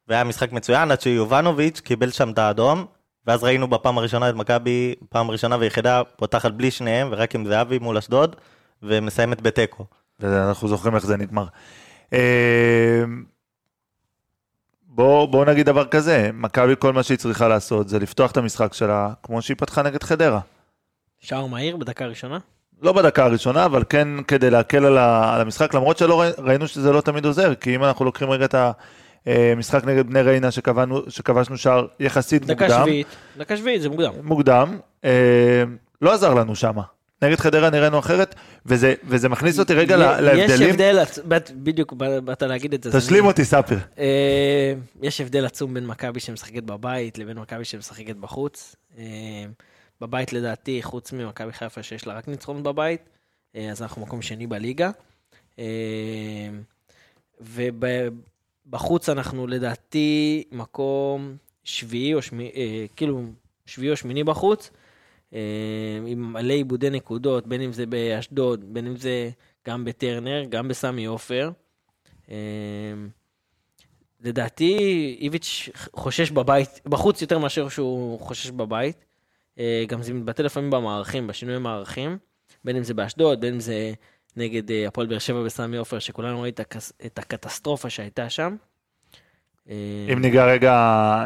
S6: והיה משחק מצוין עד שיובנוביץ' קיבל שם את האדום, ואז ראינו בפעם הראשונה את מכבי, פעם ראשונה ויחידה, פותחת בלי שניהם ורק עם זהבי מול אשדוד, ומסיימת בתיקו.
S1: ואנחנו זוכרים איך זה נגמר. אה, בואו בוא נגיד דבר כזה, מכבי כל מה שהיא צריכה לעשות זה לפתוח את המשחק שלה כמו שהיא פתחה נגד חדרה.
S5: שער מהיר בדקה הראשונה?
S1: לא בדקה הראשונה, אבל כן כדי להקל על, ה, על המשחק, למרות שלא ראי- ראינו שזה לא תמיד עוזר, כי אם אנחנו לוקחים רגע את המשחק נגד בני ריינה שקבענו, שכבשנו שער יחסית
S5: דקה
S1: מוקדם,
S5: שביעית. דקה שביעית, זה מוקדם.
S1: מוקדם, אה, לא עזר לנו שמה. נגד חדרה נראינו אחרת, וזה, וזה מכניס אותי רגע ל-
S5: יש
S1: להבדלים.
S5: הבדל, עצ- באת- בדיוק באת להגיד את זה. אז
S1: תשלים
S5: אני-
S1: אותי, ספיר.
S5: אה, יש הבדל עצום בין מכבי שמשחקת בבית לבין מכבי שמשחקת בחוץ. אה, בבית לדעתי, חוץ ממכבי חיפה שיש לה רק ניצחון בבית, אה, אז אנחנו מקום שני בליגה. אה, ובחוץ אנחנו לדעתי מקום שביעי או שמיני, כאילו שביעי או שמיני בחוץ, אה, עם מלא עיבודי נקודות, בין אם זה באשדוד, בין אם זה גם בטרנר, גם בסמי עופר. אה, לדעתי איביץ' חושש בבית, בחוץ יותר מאשר שהוא חושש בבית. אה, גם זה מתבטא לפעמים במערכים, בשינוי המערכים, בין אם זה באשדוד, בין אם זה נגד אה, הפועל באר שבע בסמי עופר, שכולנו רואים את הקס- את הקטסטרופה שהייתה שם. אה,
S1: אם ניגע רגע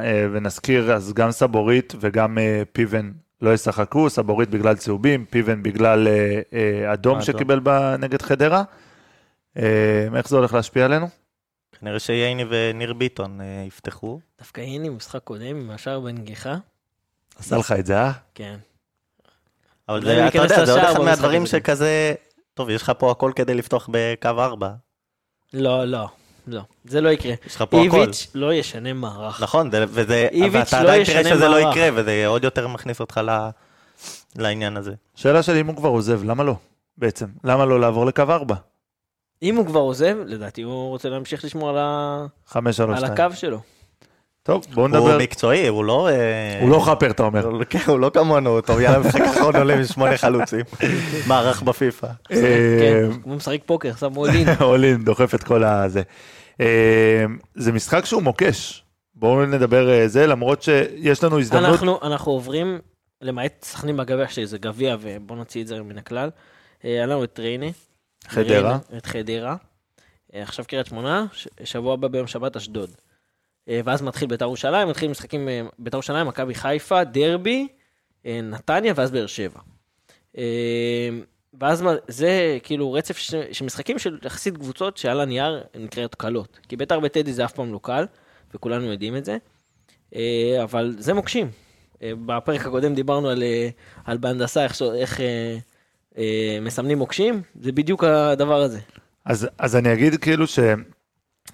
S1: אה, ונזכיר, אז גם סבורית וגם אה, פיבן לא ישחקו, סבורית בגלל צהובים, פיבן בגלל אה, אה, אדום
S6: אדום.
S1: שקיבל ב- נגד חדרה. אה, איך זה הולך להשפיע עלינו?
S6: כנראה שייני וניר ביטון אה, יפתחו.
S5: דווקא הנה משחק קודם עם השער בנגיחה,
S1: עשה לך את זה, אה?
S5: כן.
S6: אבל
S5: אולי הוא
S6: זה, אתה
S5: לא, ייכנס
S6: יודע, זה עוד
S5: לשער
S6: אחד
S5: במשחק
S6: מהדברים
S5: הזה.
S6: שכזה, טוב, יש לך פה הכל כדי לפתוח בקו 4.
S5: לא, לא, לא. זה לא יקרה.
S6: יש לך פה הכל.
S5: איביץ' לא ישנה מערך.
S6: נכון, זה- וזה,
S5: איביץ'
S6: ואתה
S5: לא
S6: עדיין תראה
S5: ישנה
S6: שזה לא
S5: מערך.
S6: יקרה, וזה עוד יותר מכניס אותך ל- לעניין הזה.
S1: שאלה שלי, אם הוא כבר עוזב, למה לא? בעצם, למה לא לעבור לקו 4?
S5: אם הוא כבר עוזב, לדעתי הוא רוצה להמשיך לשמור על ה-
S1: 5, 3,
S5: על
S1: 2.
S5: הקו שלו.
S1: טוב, בואו
S6: הוא
S1: נדבר.
S6: מקצועי, הוא לא... אה,
S1: הוא לא חאפר, אתה אומר.
S6: כן, הוא לא כמונו, הוא טוב, יאללה, משחק אחרון עולה עם שמונה חלוצים. מערך בפיפא.
S1: אה,
S5: כן, הוא משחק פוקר, שם מולין.
S1: אולין דוחף את כל הזה. אה, זה משחק שהוא מוקש. בואו נדבר אה, זה, למרות שיש לנו הזדמנות.
S5: אנחנו, אנחנו עוברים, למעט סכנין בגביע שזה גביע, ובוא נוציא את זה מן הכלל. אה, היה לנו את ריינה.
S1: חדרה.
S5: ריינה, את חדרה. אה, עכשיו קריית שמונה, ש- שבוע הבא ביום שבת אשדוד. אה, ואז מתחיל בית"ר ירושלים, מתחילים משחקים אה, בית"ר ירושלים, מכבי חיפה, דרבי, אה, נתניה, ואז באר שבע. אה, ואז מה- זה כאילו רצף ש- של משחקים של יחסית קבוצות שעל הנייר נקראות קלות. כי בית"ר בטדי זה אף פעם לא קל, וכולנו יודעים את זה. אה, אבל זה מוקשים. אה, בפרק הקודם דיברנו על, אה, על בהנדסה, איך, ש- איך אה, אה, מסמנים מוקשים, זה בדיוק הדבר הזה.
S1: אז, אז אני אגיד כאילו ש...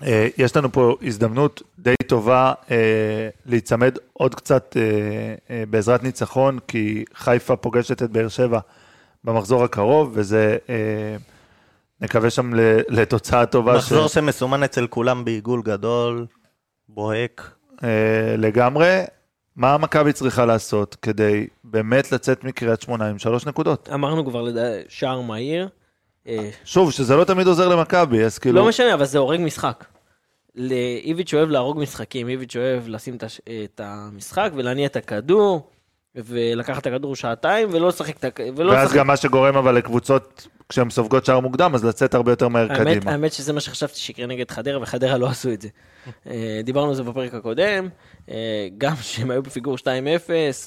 S1: אה, יש לנו פה הזדמנות די טובה אה, להיצמד עוד קצת אה, אה, בעזרת ניצחון, כי חיפה פוגשת את באר שבע במחזור הקרוב, וזה, אה, נקווה שם ל- לתוצאה טובה. ש-
S6: מחזור שמסומן אצל כולם בעיגול גדול, בוהק.
S1: אה, לגמרי. מה מכבי צריכה לעשות כדי באמת לצאת מקריית שמונה עם שלוש נקודות?
S5: אמרנו כבר לדע... שער מהיר, אה,
S1: שוב, שזה לא תמיד עוזר למכבי, אז כאילו...
S5: לא משנה, אבל זה הורג משחק. לאיביץ' אוהב להרוג משחקים, איביץ' אוהב לשים את הש- את המשחק ולהניע את הכדור, ולקחת את הכדור שעתיים, ולא לשחק את הכ- ולא
S1: ואז
S5: לשחק-
S1: גם מה שגורם אבל לקבוצות, כשהן סופגות שער מוקדם, אז לצאת הרבה יותר מהר
S5: האמת,
S1: קדימה.
S5: האמת שזה מה שחשבתי שיקרה נגד חדרה, וחדרה לא עשו את זה. אה, דיברנו על זה בפרק הקודם, אה, גם שהם היו בפיגור 2-0,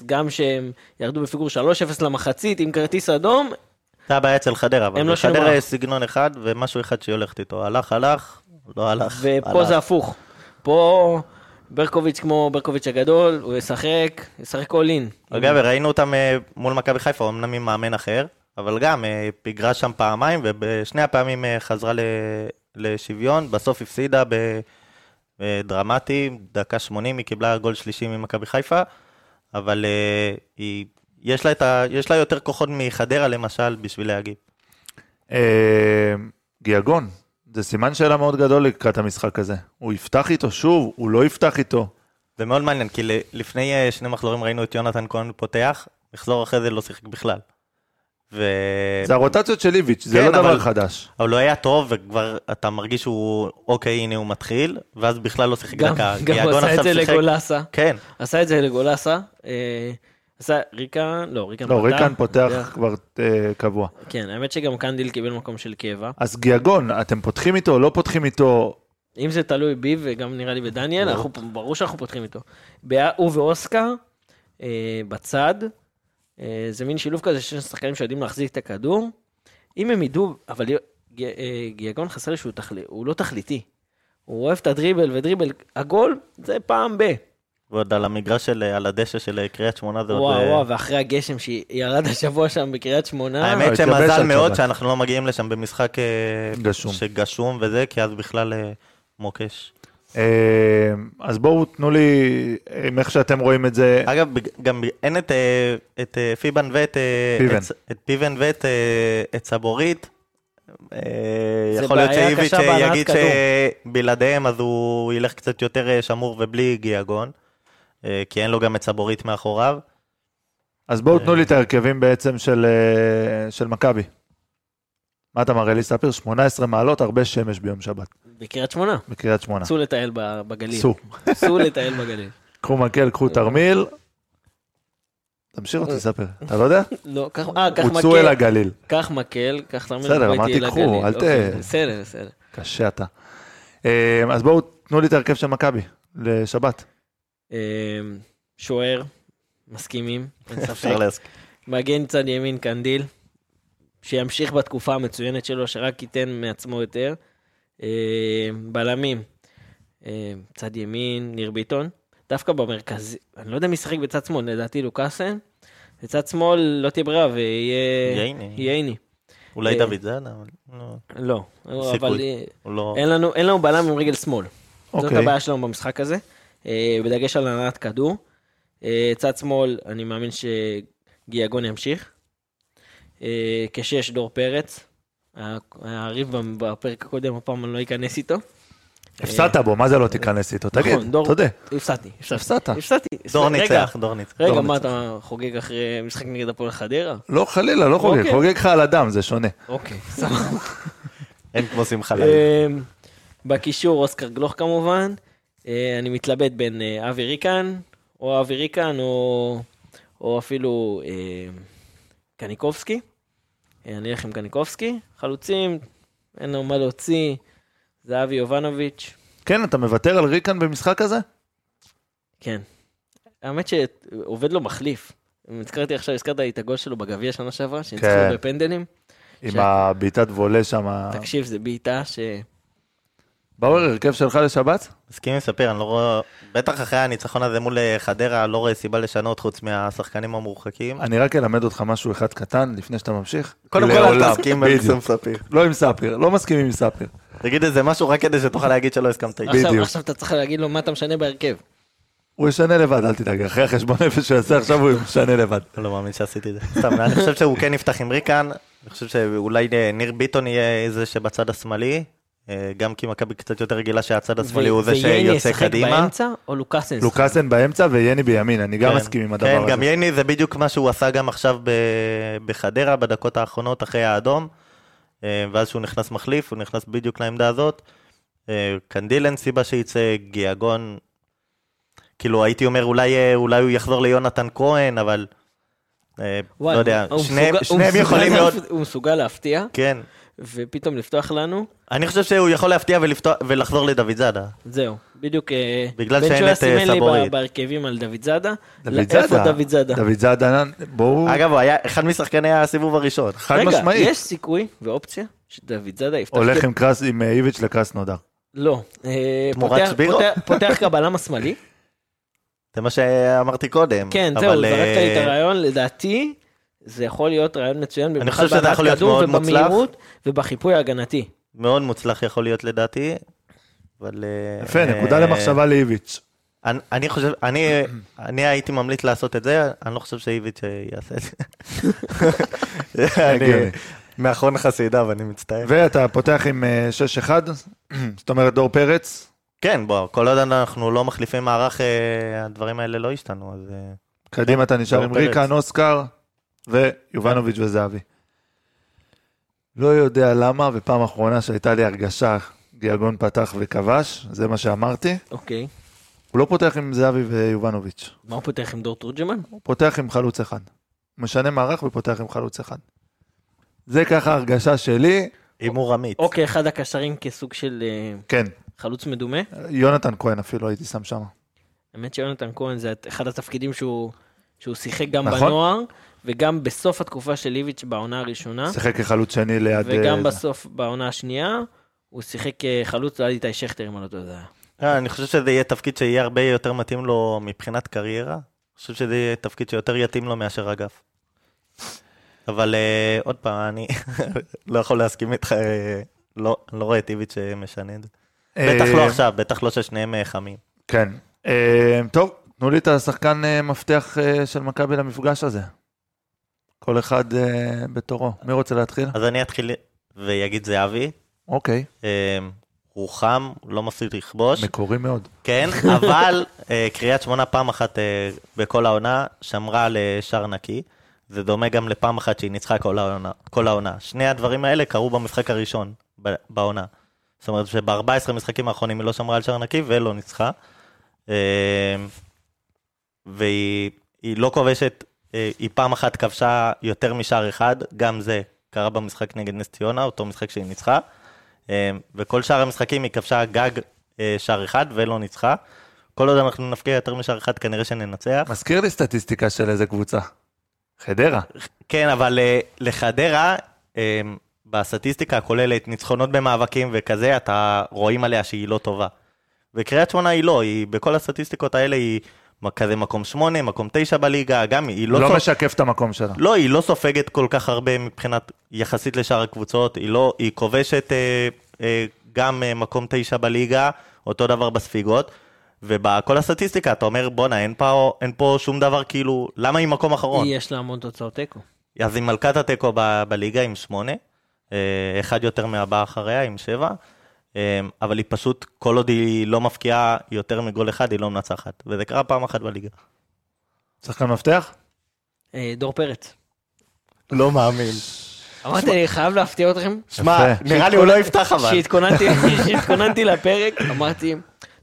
S5: גם שהם ירדו בפיגור 3-0 למחצית עם כרטיס אדום,
S6: זה הבעיה אצל חדרה,
S5: הם לא
S6: אבל
S5: שינו
S6: חדרה
S5: מערך.
S6: יש סגנון אחד ומשהו אחד שהיא הולכת איתו. הלך, הלך, לא הלך,
S5: ופה
S6: הלך.
S5: זה הפוך. פה ברקוביץ' כמו ברקוביץ' הגדול, הוא ישחק, ישחק אול אין.
S6: אגב, ראינו אותם אה, מול מכבי חיפה, אמנם עם מאמן אחר, אבל גם אה, פיגרה שם פעמיים, ובשני הפעמים אה, חזרה ל- לשוויון, בסוף הפסידה ב- בדרמטי, דקה 80 היא קיבלה גול שלישי ממכבי חיפה, אבל אה, היא, יש, לה את ה, יש לה יותר כוחות מחדרה למשל בשביל להגיב.
S1: אה, גיאגון, זה סימן שאלה מאוד גדול לקראת המשחק הזה. הוא יפתח איתו שוב, הוא לא יפתח איתו.
S6: זה מאוד מעניין, כי ל- לפני אה, שני מחזורים ראינו את יונתן כהן פותח, מחזור אחרי זה לא שיחק בכלל. ו...
S1: זה הרוטציות של איביץ', זה
S6: כן,
S1: לא דבר
S6: אבל-
S1: חדש.
S6: אבל הוא היה טוב, וכבר אתה מרגיש שהוא, אוקיי, הנה הוא מתחיל, ואז בכלל לא שיחק
S5: גם
S6: דקה.
S5: גם הוא
S6: יגון
S5: עשה את
S6: עכשיו
S5: זה
S6: שיחק-
S5: לגולסה.
S6: כן,
S5: עשה את זה לגולסה. אה, עשה ריקן, לא,
S6: כן,
S5: ריקן
S1: לא,
S5: פתח.
S1: ריקן פותח כבר אה, קבוע.
S5: כן, האמת שגם קנדיל קיבל מקום של קבע.
S1: אז גיאגון, אתם פותחים איתו, לא פותחים איתו,
S5: אם זה תלוי בי וגם נראה לי בדניאל, אנחנו, ברור שאנחנו פותחים איתו. בא- הוא ואוסקר אה, בצד, אה, זה מין שילוב כזה של שחקנים שיודעים להחזיק את הכדור. אם הם ידעו, אבל יו- ג- אה, גיאגון חסר לי שהוא תחל... הוא לא תכליתי. הוא אוהב את הדריבל ודריבל, הגול זה פעם ב.
S6: ועוד על המגרש של, על הדשא של אה, קריית שמונה זה עוד...
S5: וואו
S6: אה,
S5: וואו, ואחרי הגשם שירד השבוע שם בקריית שמונה.
S1: אה,
S6: האמת
S1: התלבש
S6: שמזל
S1: על
S6: מאוד
S1: שבת.
S6: שאנחנו לא מגיעים לשם במשחק אה,
S1: גשום.
S6: שגשום וזה, כי אז בכלל אה, מוקש.
S1: אה, אז בואו תנו לי, עם איך שאתם רואים את זה,
S6: אגב, בג- גם ב- אין את, אה, את אה, פיבן ואת... אה,
S1: פיבן.
S6: את- את פיבן ואת אה, את סבורית. אה,
S5: זה
S6: יכול להיות
S5: בעיה
S6: שאיביץ'
S5: קשה
S6: אה,
S5: בהנעת
S6: יגיד
S5: כדור.
S6: שבלעדיהם אז הוא ילך קצת יותר אה, שמור ובלי גיאגון, אה, כי אין לו גם את סבורית מאחוריו.
S1: אז בואו תנו לי את ההרכבים בעצם של, אה, של מכבי. מה אתה מראה לי, ספיר? 18 מעלות, הרבה שמש ביום שבת,
S5: בקריית שמונה.
S6: אה.
S1: בקריית שמונה.
S5: סעו לטייל ב- בגליל.
S1: סעו.
S5: סעו לטייל בגליל.
S1: קחו מקל, קחו תרמיל. תמשיך אותי, ספיר. אתה לא יודע?
S5: לא, קח אה, קח
S1: הוצאו
S5: מקל.
S1: אל הגליל.
S5: קח מקל, קח סמל.
S1: בסדר,
S5: ובוא
S1: אמרתי,
S5: איתי
S1: קחו,
S5: לגליל.
S1: אל ת-
S5: אוקיי, בסדר, בסדר.
S1: קשה אתה. אה, אז בואו תנו לי את ההרכב של מכבי לשבת.
S5: אמ, שוער, מסכימים, אין ספק.
S6: אפשר להסכים.
S5: מגן צד ימין קנדיל, שימשיך בתקופה המצוינת שלו, שרק ייתן מעצמו יותר. אמ, בלמים, אמ, צד ימין ניר ביטון, דווקא במרכזי, אני לא יודע מי שיחק בצד שמאל, לדעתי לוקאסן. בצד שמאל לא תהיה ברירה ויהיה...
S6: ייני.
S5: ייני.
S6: אולי
S5: אה,
S6: דוד זאדה, אבל לא,
S5: לא,
S6: סיכוי.
S5: אבל אה,
S6: הוא לא...
S5: אין לנו, אין לנו בלם עם רגל שמאל. זאת
S1: אוקיי.
S5: הבעיה שלנו במשחק הזה, אה, בדגש על הנעת כדור. אה, צד שמאל, אני מאמין שגיאגון ימשיך. אה, כשש דור פרץ. ה- הריב במ- בפרק הקודם, הפעם אני לא אכנס איתו.
S1: הפסדת בו, מה זה לא תיכנס איתו? תגיד,
S5: נכון, דור- אוקיי.
S1: תודה.
S5: הפסדתי, הפסדתי.
S1: הפסדת.
S5: הפסדתי.
S6: דור
S5: רגע,
S6: ניצח, דור ניצח.
S5: רגע,
S6: דור
S5: מה
S6: ניצח.
S5: אתה חוגג אחרי משחק נגד הפועל חדרה?
S1: לא, חלילה, לא חוגג.
S5: אוקיי.
S1: חוגג לך על הדם, זה שונה.
S5: אוקיי, סבבה.
S6: אין כמו שמחה לאיד.
S5: אמ, בקישור אוסקר גלוך כמובן. אה, אני מתלבט בין אה, אבי ריקן, או אבי ריקן, או, או אפילו אה, קניקובסקי. אה, אני אלך עם קניקובסקי. חלוצים, אין לנו מה להוציא. זהבי יובנוביץ',
S1: כן, אתה מוותר על ריקן במשחק הזה?
S5: כן. האמת שעובד לו מחליף. נזכרתי עכשיו, הזכרת לי את הגול שלו בגביע שנה שעברה, שניצחו
S1: כן. אה.
S5: בפנדלים.
S1: עם
S5: כן.
S1: הבעיטת וולה שם.
S5: תקשיב, זו בעיטה ש...
S1: באואר, הרכב שלך לשבת?
S6: מסכים עם ספיר, אני לא רואה... בטח אחרי הניצחון הזה מול אה, חדרה, לא רואה סיבה לשנות חוץ מהשחקנים המורחקים.
S1: אני רק אלמד אותך משהו אחד קטן לפני שאתה ממשיך.
S6: קודם כל, אל
S1: לעולם.
S6: תסכים עם
S1: בדיוק.
S6: מקסום ספיר.
S1: לא עם ספיר, לא מסכים עם ספיר.
S6: תגיד איזה משהו רק כדי שתוכל להגיד שלא הסכמת איתי.
S5: עכשיו,
S1: בדיוק.
S5: עכשיו אתה צריך להגיד לו מה אתה משנה בהרכב.
S1: הוא ישנה לבד, אל תדאג, אחרי החשבון נפש שהוא
S6: כן.
S1: יעשה עכשיו הוא ישנה לבד.
S6: לא מאמין שעשיתי את זה. סתם, אני חושב שהוא כן יפתח עם ריקן, אני חושב שאולי אה, ניר ביטון יהיה זה שבצד השמאלי, אה, גם כי מכבי קצת יותר רגילה שהצד השמאלי
S5: ו-
S6: הוא זה
S5: וייני
S6: שיוצא
S5: ישחק
S6: קדימה.
S5: באמצע או לוקאסן? ישחק?
S1: לוקאסן באמצע ויני בימין, אני גם
S6: כן.
S1: מסכים עם הדבר
S6: כן,
S1: הזה.
S6: גם ייני זה בדיוק מה שהוא עשה גם עכשיו ב- בחדרה, בדקות האחרונות אחרי האדום, אה, ואז שהוא נכנס מחליף, הוא נכנס בדיוק לעמדה הזאת. אה, קנדיל אין סיבה שיצא, גיאגון, כאילו הייתי אומר אולי, אה, אולי הוא יחזור ליונתן כהן, אבל... אה, לא
S5: וואי,
S6: יודע,
S5: הוא- הוא
S6: שניהם-
S5: מסוגל- הוא
S6: שניהם
S5: מסוגל
S6: יכולים
S5: להפ-
S6: מאוד...
S5: הוא מסוגל להפתיע,
S6: כן.
S5: ופתאום לפתוח לנו,
S6: אני חושב שהוא יכול להפתיע ולפתוח, ולחזור לדוד זאדה.
S5: זהו. בדיוק, אה,
S6: בגלל
S5: בן
S6: שאין
S5: שויה
S6: את, אה,
S5: סימן לי ב-
S6: סבורית.
S5: בהרכבים על דוד זאדה.
S1: דוד
S5: לא,
S1: זאדה.
S5: איפה דוד זאדה?
S1: דוד זאדה, בואו,
S6: אגב, הוא היה אחד משחקני הסיבוב הראשון.
S1: חד משמעית.
S5: רגע, יש סיכוי ואופציה שדוד זאדה יפתח?
S1: הולך
S5: כ-
S1: עם קרס- עם אה, איביץ' לקרס נודר.
S5: לא. אה,
S6: תמורת
S5: פותח-
S6: שבירו?
S5: פותח- פותח כבלם השמאלי?
S6: זה מה שאמרתי קודם.
S5: כן,
S6: אבל,
S5: זהו,
S6: אה,
S5: זרקת לי את הרעיון, לדעתי, זה יכול להיות רעיון מצוין. במיוחד
S6: חושב שזה
S5: בהנעת
S6: יכול להיות
S5: כדור
S6: מאוד מוצלח.
S5: ובמהירות ובחיפוי ההגנתי.
S6: מאוד מוצלח יכול להיות לדעתי. אבל... אה,
S1: יפה, נקודה
S6: אה,
S1: למחשבה לאיביץ'.
S6: אני- אני חושב, אני אני הייתי ממליץ לעשות את זה, אני לא חושב שאיביץ' אה, יעשה את זה. אני
S1: הגיוני.
S6: מאחרון חסידיו, אני מצטער.
S1: ואתה פותח עם אה, 6-1, זאת אומרת דור פרץ,
S6: כן, בוא, כל עוד אנחנו לא מחליפים מערך, אה, הדברים האלה לא השתנו, אז... אה,
S1: קדימה אתה נשאר
S6: דור
S1: עם
S6: פרץ.
S1: ריקן, אוסקר ויובנוביץ' וזהבי. לא יודע למה, ופעם אחרונה שהייתה לי הרגשה, גיאגון פתח וכבש, זה מה שאמרתי.
S5: אוקיי.
S1: הוא לא פותח עם זהבי ויובנוביץ',
S5: מה הוא פותח עם דור תורג'מן?
S1: הוא פותח עם חלוץ אחד. משנה מערך ופותח עם חלוץ אחד. זה ככה הרגשה שלי,
S6: הימור אמיץ.
S5: אוקיי, אחד הקשרים כסוג של אה,
S1: כן,
S5: חלוץ מדומה.
S1: יונתן כהן אפילו הייתי שם שם.
S5: האמת שיונתן כהן זה אחד התפקידים שהוא, שהוא שיחק גם
S1: נכון.
S5: בנוער, וגם בסוף התקופה של איביץ' בעונה
S6: אה?
S5: הראשונה,
S1: שיחק כחלוץ שני ליד...
S5: וגם
S1: אה,
S5: בסוף בעונה השנייה, הוא שיחק כחלוץ ליד איתי שכטר, אם אני לא טועה. זה היה.
S6: אה, אני חושב שזה יהיה תפקיד שיהיה הרבה יותר מתאים לו מבחינת קריירה. אני חושב שזה יהיה תפקיד שיותר יתאים לו מאשר אגף. אבל אה, עוד פעם, אני לא יכול להסכים איתך, אה, לא אני לא רואה את איביץ' שמשנה את זה.
S1: אה,
S6: בטח לא עכשיו, בטח לא ששניהם אה, חמים.
S1: כן. אה, טוב, תנו לי את השחקן אה, מפתח אה, של מכבי למפגש הזה. כל אחד אה, בתורו. מי רוצה להתחיל?
S6: אז אני אתחיל ויגיד זהבי,
S1: אוקיי,
S6: אה, הוא חם, לא מפסיד לכבוש.
S1: מקורי מאוד.
S6: כן, אבל אה, קריית שמונה פעם אחת אה, בכל העונה שמרה על אה, שער נקי. זה דומה גם לפעם אחת שהיא ניצחה כל העונה. כל העונה. שני הדברים האלה קרו במשחק הראשון ב- בעונה. זאת אומרת שב-14 משחקים האחרונים היא לא שמרה על שער נקי ולא ניצחה. אה, והיא היא לא כובשת, אה, היא פעם אחת כבשה יותר משער אחד, גם זה קרה במשחק נגד נס ציונה, אותו משחק שהיא ניצחה. אה, וכל שאר המשחקים היא כבשה גג אה, שער אחד ולא ניצחה. כל עוד אנחנו נפקיע יותר משער אחד כנראה שננצח.
S1: מזכיר לי סטטיסטיקה של איזה קבוצה. חדרה.
S6: כן, אבל אה, לחדרה, אה, בסטטיסטיקה הכוללת ניצחונות במאבקים וכזה, אתה רואים עליה שהיא לא טובה. וקריית שמונה היא לא, היא בכל הסטטיסטיקות האלה היא כזה מקום שמונה, מקום תשע בליגה, גם היא לא...
S1: לא
S6: סופ-
S1: משקף את המקום שלה.
S6: לא, היא לא סופגת כל כך הרבה מבחינת, יחסית לשאר הקבוצות, היא לא, היא כובשת אה, אה, גם אה, מקום תשע בליגה, אותו דבר בספיגות, ובכל הסטטיסטיקה אתה אומר, בואנה, אין פה, אין פה שום דבר כאילו, למה היא מקום אחרון?
S5: יש לה המון תוצאות תיקו.
S6: אז היא מלכת התיקו ב- בליגה עם שמונה, אה, אחד יותר מהבאה אחריה עם שבע, אה, אבל היא פשוט, כל עוד היא לא מפקיעה יותר מגול אחד, היא לא מנצחת, וזה קרה פעם אחת בליגה.
S1: שחקן מפתח?
S5: אה, דור פרץ.
S6: לא מאמין.
S5: אמרתי, אני חייב להפתיע אתכם.
S6: שמע,
S1: יפה.
S6: נראה לי הוא לא יפתח אבל.
S5: כשהתכוננתי- כשהתכוננתי לפרק, אמרתי,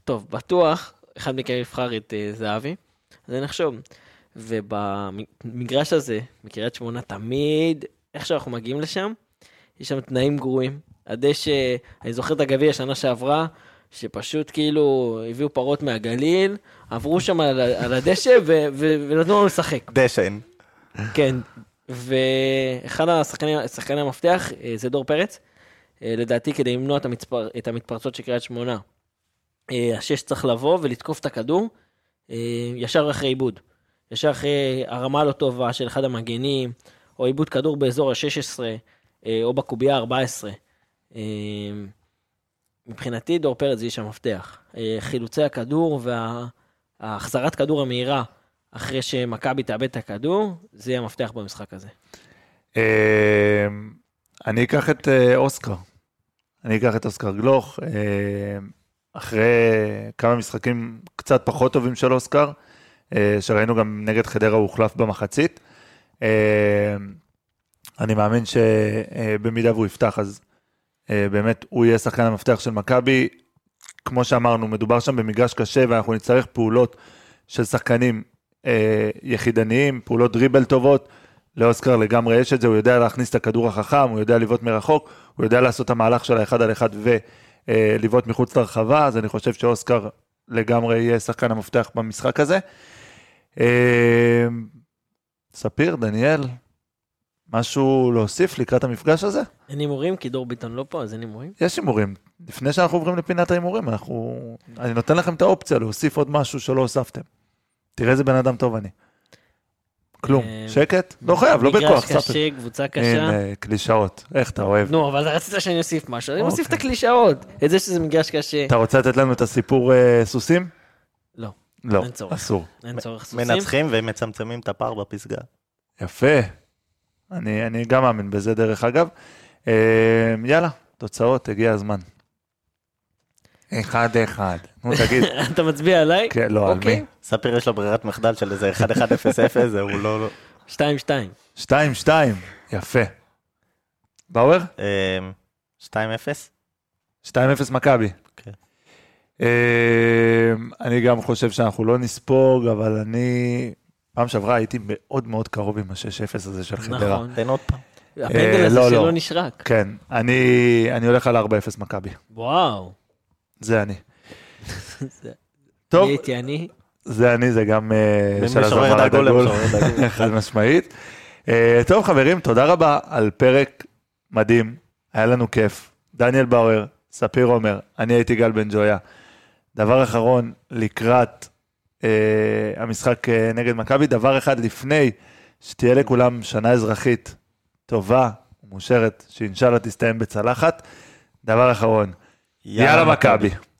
S5: טוב, בטוח, אחד מכם יבחר את אה, זהבי, אז אני אחשוב. ובמגרש הזה, בקריית שמונה, תמיד, איך שאנחנו מגיעים לשם, יש שם תנאים גרועים. הדשא, אני זוכר את הגביע שנה שעברה, שפשוט כאילו הביאו פרות מהגליל, עברו שם על, ה- על הדשא ו- ו- ונתנו לנו לשחק.
S6: דשן.
S5: כן, ואחד השחקנים, שחקני המפתח אה, זה דור פרץ. אה, לדעתי, כדי למנוע את, המצפר, את המתפרצות של קריית שמונה, אה, השש צריך לבוא ולתקוף את הכדור אה, ישר אחרי עיבוד. ישר אחרי הרמה לא טובה של אחד המגנים, או עיבוד כדור באזור ה-16, אה, או בקובייה ה-14. אה, מבחינתי, דור פרץ זה איש המפתח. אה, חילוצי הכדור והחזרת כדור המהירה אחרי שמכבי תאבד את הכדור, זה יהיה המפתח במשחק הזה.
S1: אה, אני אקח את אה, אוסקר. אני אקח את אוסקר גלוך. אה, אחרי כמה משחקים קצת פחות טובים של אוסקר, אה, שראינו גם נגד חדרה הוא הוחלף במחצית. אה, אני מאמין שבמידה והוא יפתח, אז אה, באמת הוא יהיה שחקן המפתח של מכבי. כמו שאמרנו, מדובר שם במגרש קשה ואנחנו נצטרך פעולות של שחקנים אה, יחידניים, פעולות דריבל טובות. לאוסקר לגמרי יש את זה, הוא יודע להכניס את הכדור החכם, הוא יודע לבעוט מרחוק, הוא יודע לעשות את המהלך של האחד על אחד ולבעוט מחוץ לרחבה, אז אני חושב שאוסקר לגמרי יהיה שחקן המפתח במשחק הזה. אה, ספיר, דניאל, משהו להוסיף לקראת המפגש הזה?
S5: אין הימורים, כי דור ביטון לא פה, אז אין הימורים.
S1: יש הימורים. לפני שאנחנו עוברים לפינת ההימורים, אנחנו... אני נותן לכם את האופציה להוסיף עוד משהו שלא הוספתם. תראה איזה בן אדם טוב אני. כלום.
S5: אה,
S1: שקט? לא חייב, לא בכוח,
S5: מגרש
S1: ספיר.
S5: קשה, קבוצה קשה.
S1: הנה, אה, קלישאות, איך אתה אוהב.
S5: נו, אבל רצית שאני אוסיף משהו, אני
S1: אוקיי.
S5: מוסיף את הקלישאות. את זה שזה מגרש קשה,
S1: אתה רוצה לתת לנו את הסיפור אה, סוסים?
S5: אה. לא,
S1: לא,
S5: אין צורך.
S1: אסור.
S5: אין צורך סוסים.
S6: מנצחים ומצמצמים את הפער בפסגה.
S1: יפה. אני אני גם מאמין בזה דרך אגב. אה, יאללה, תוצאות, הגיע הזמן. אחד אחד. נו, תגיד.
S5: אתה מצביע עליי?
S1: כן, לא, על
S5: אוקיי.
S1: מי?
S6: ספיר יש לו ברירת מחדל של איזה 1-1-0-0, זה הוא לא... לא-
S5: 2-2.
S1: שתיים שתיים. יפה. באואר?
S6: אמ, 2-0?
S1: 2-0 מכבי.
S6: כן.
S5: אוקיי.
S1: אה, אני גם חושב שאנחנו לא נספוג, אבל אני... פעם שעברה הייתי מאוד מאוד קרוב עם ה-6-0 הזה של חדרה.
S5: נכון.
S6: תן עוד פעם.
S5: הפנדל הזה
S1: לא, לא.
S5: שלא נשרק.
S1: כן, אני, אני הולך על 4-0 מכבי,
S5: וואו.
S1: זה אני. טוב,
S5: אני הייתי אני.
S1: זה אני, זה גם אה,
S6: מי
S1: של
S6: שומר
S1: הזמרת
S6: את הגולם,
S1: הגול,
S6: שומר את הגולם.
S1: חד משמעית. אה, טוב חברים, תודה רבה על פרק מדהים, היה לנו כיף. דניאל באואר, ספיר עומר, אני הייתי גל בן ג'ויה. דבר אחרון, לקראת אה, המשחק אה, נגד מכבי, דבר אחד לפני, שתהיה לכולם שנה אזרחית טובה ומאושרת, שאינשאללה תסתיים בצלחת. דבר אחרון, יאללה מכבי.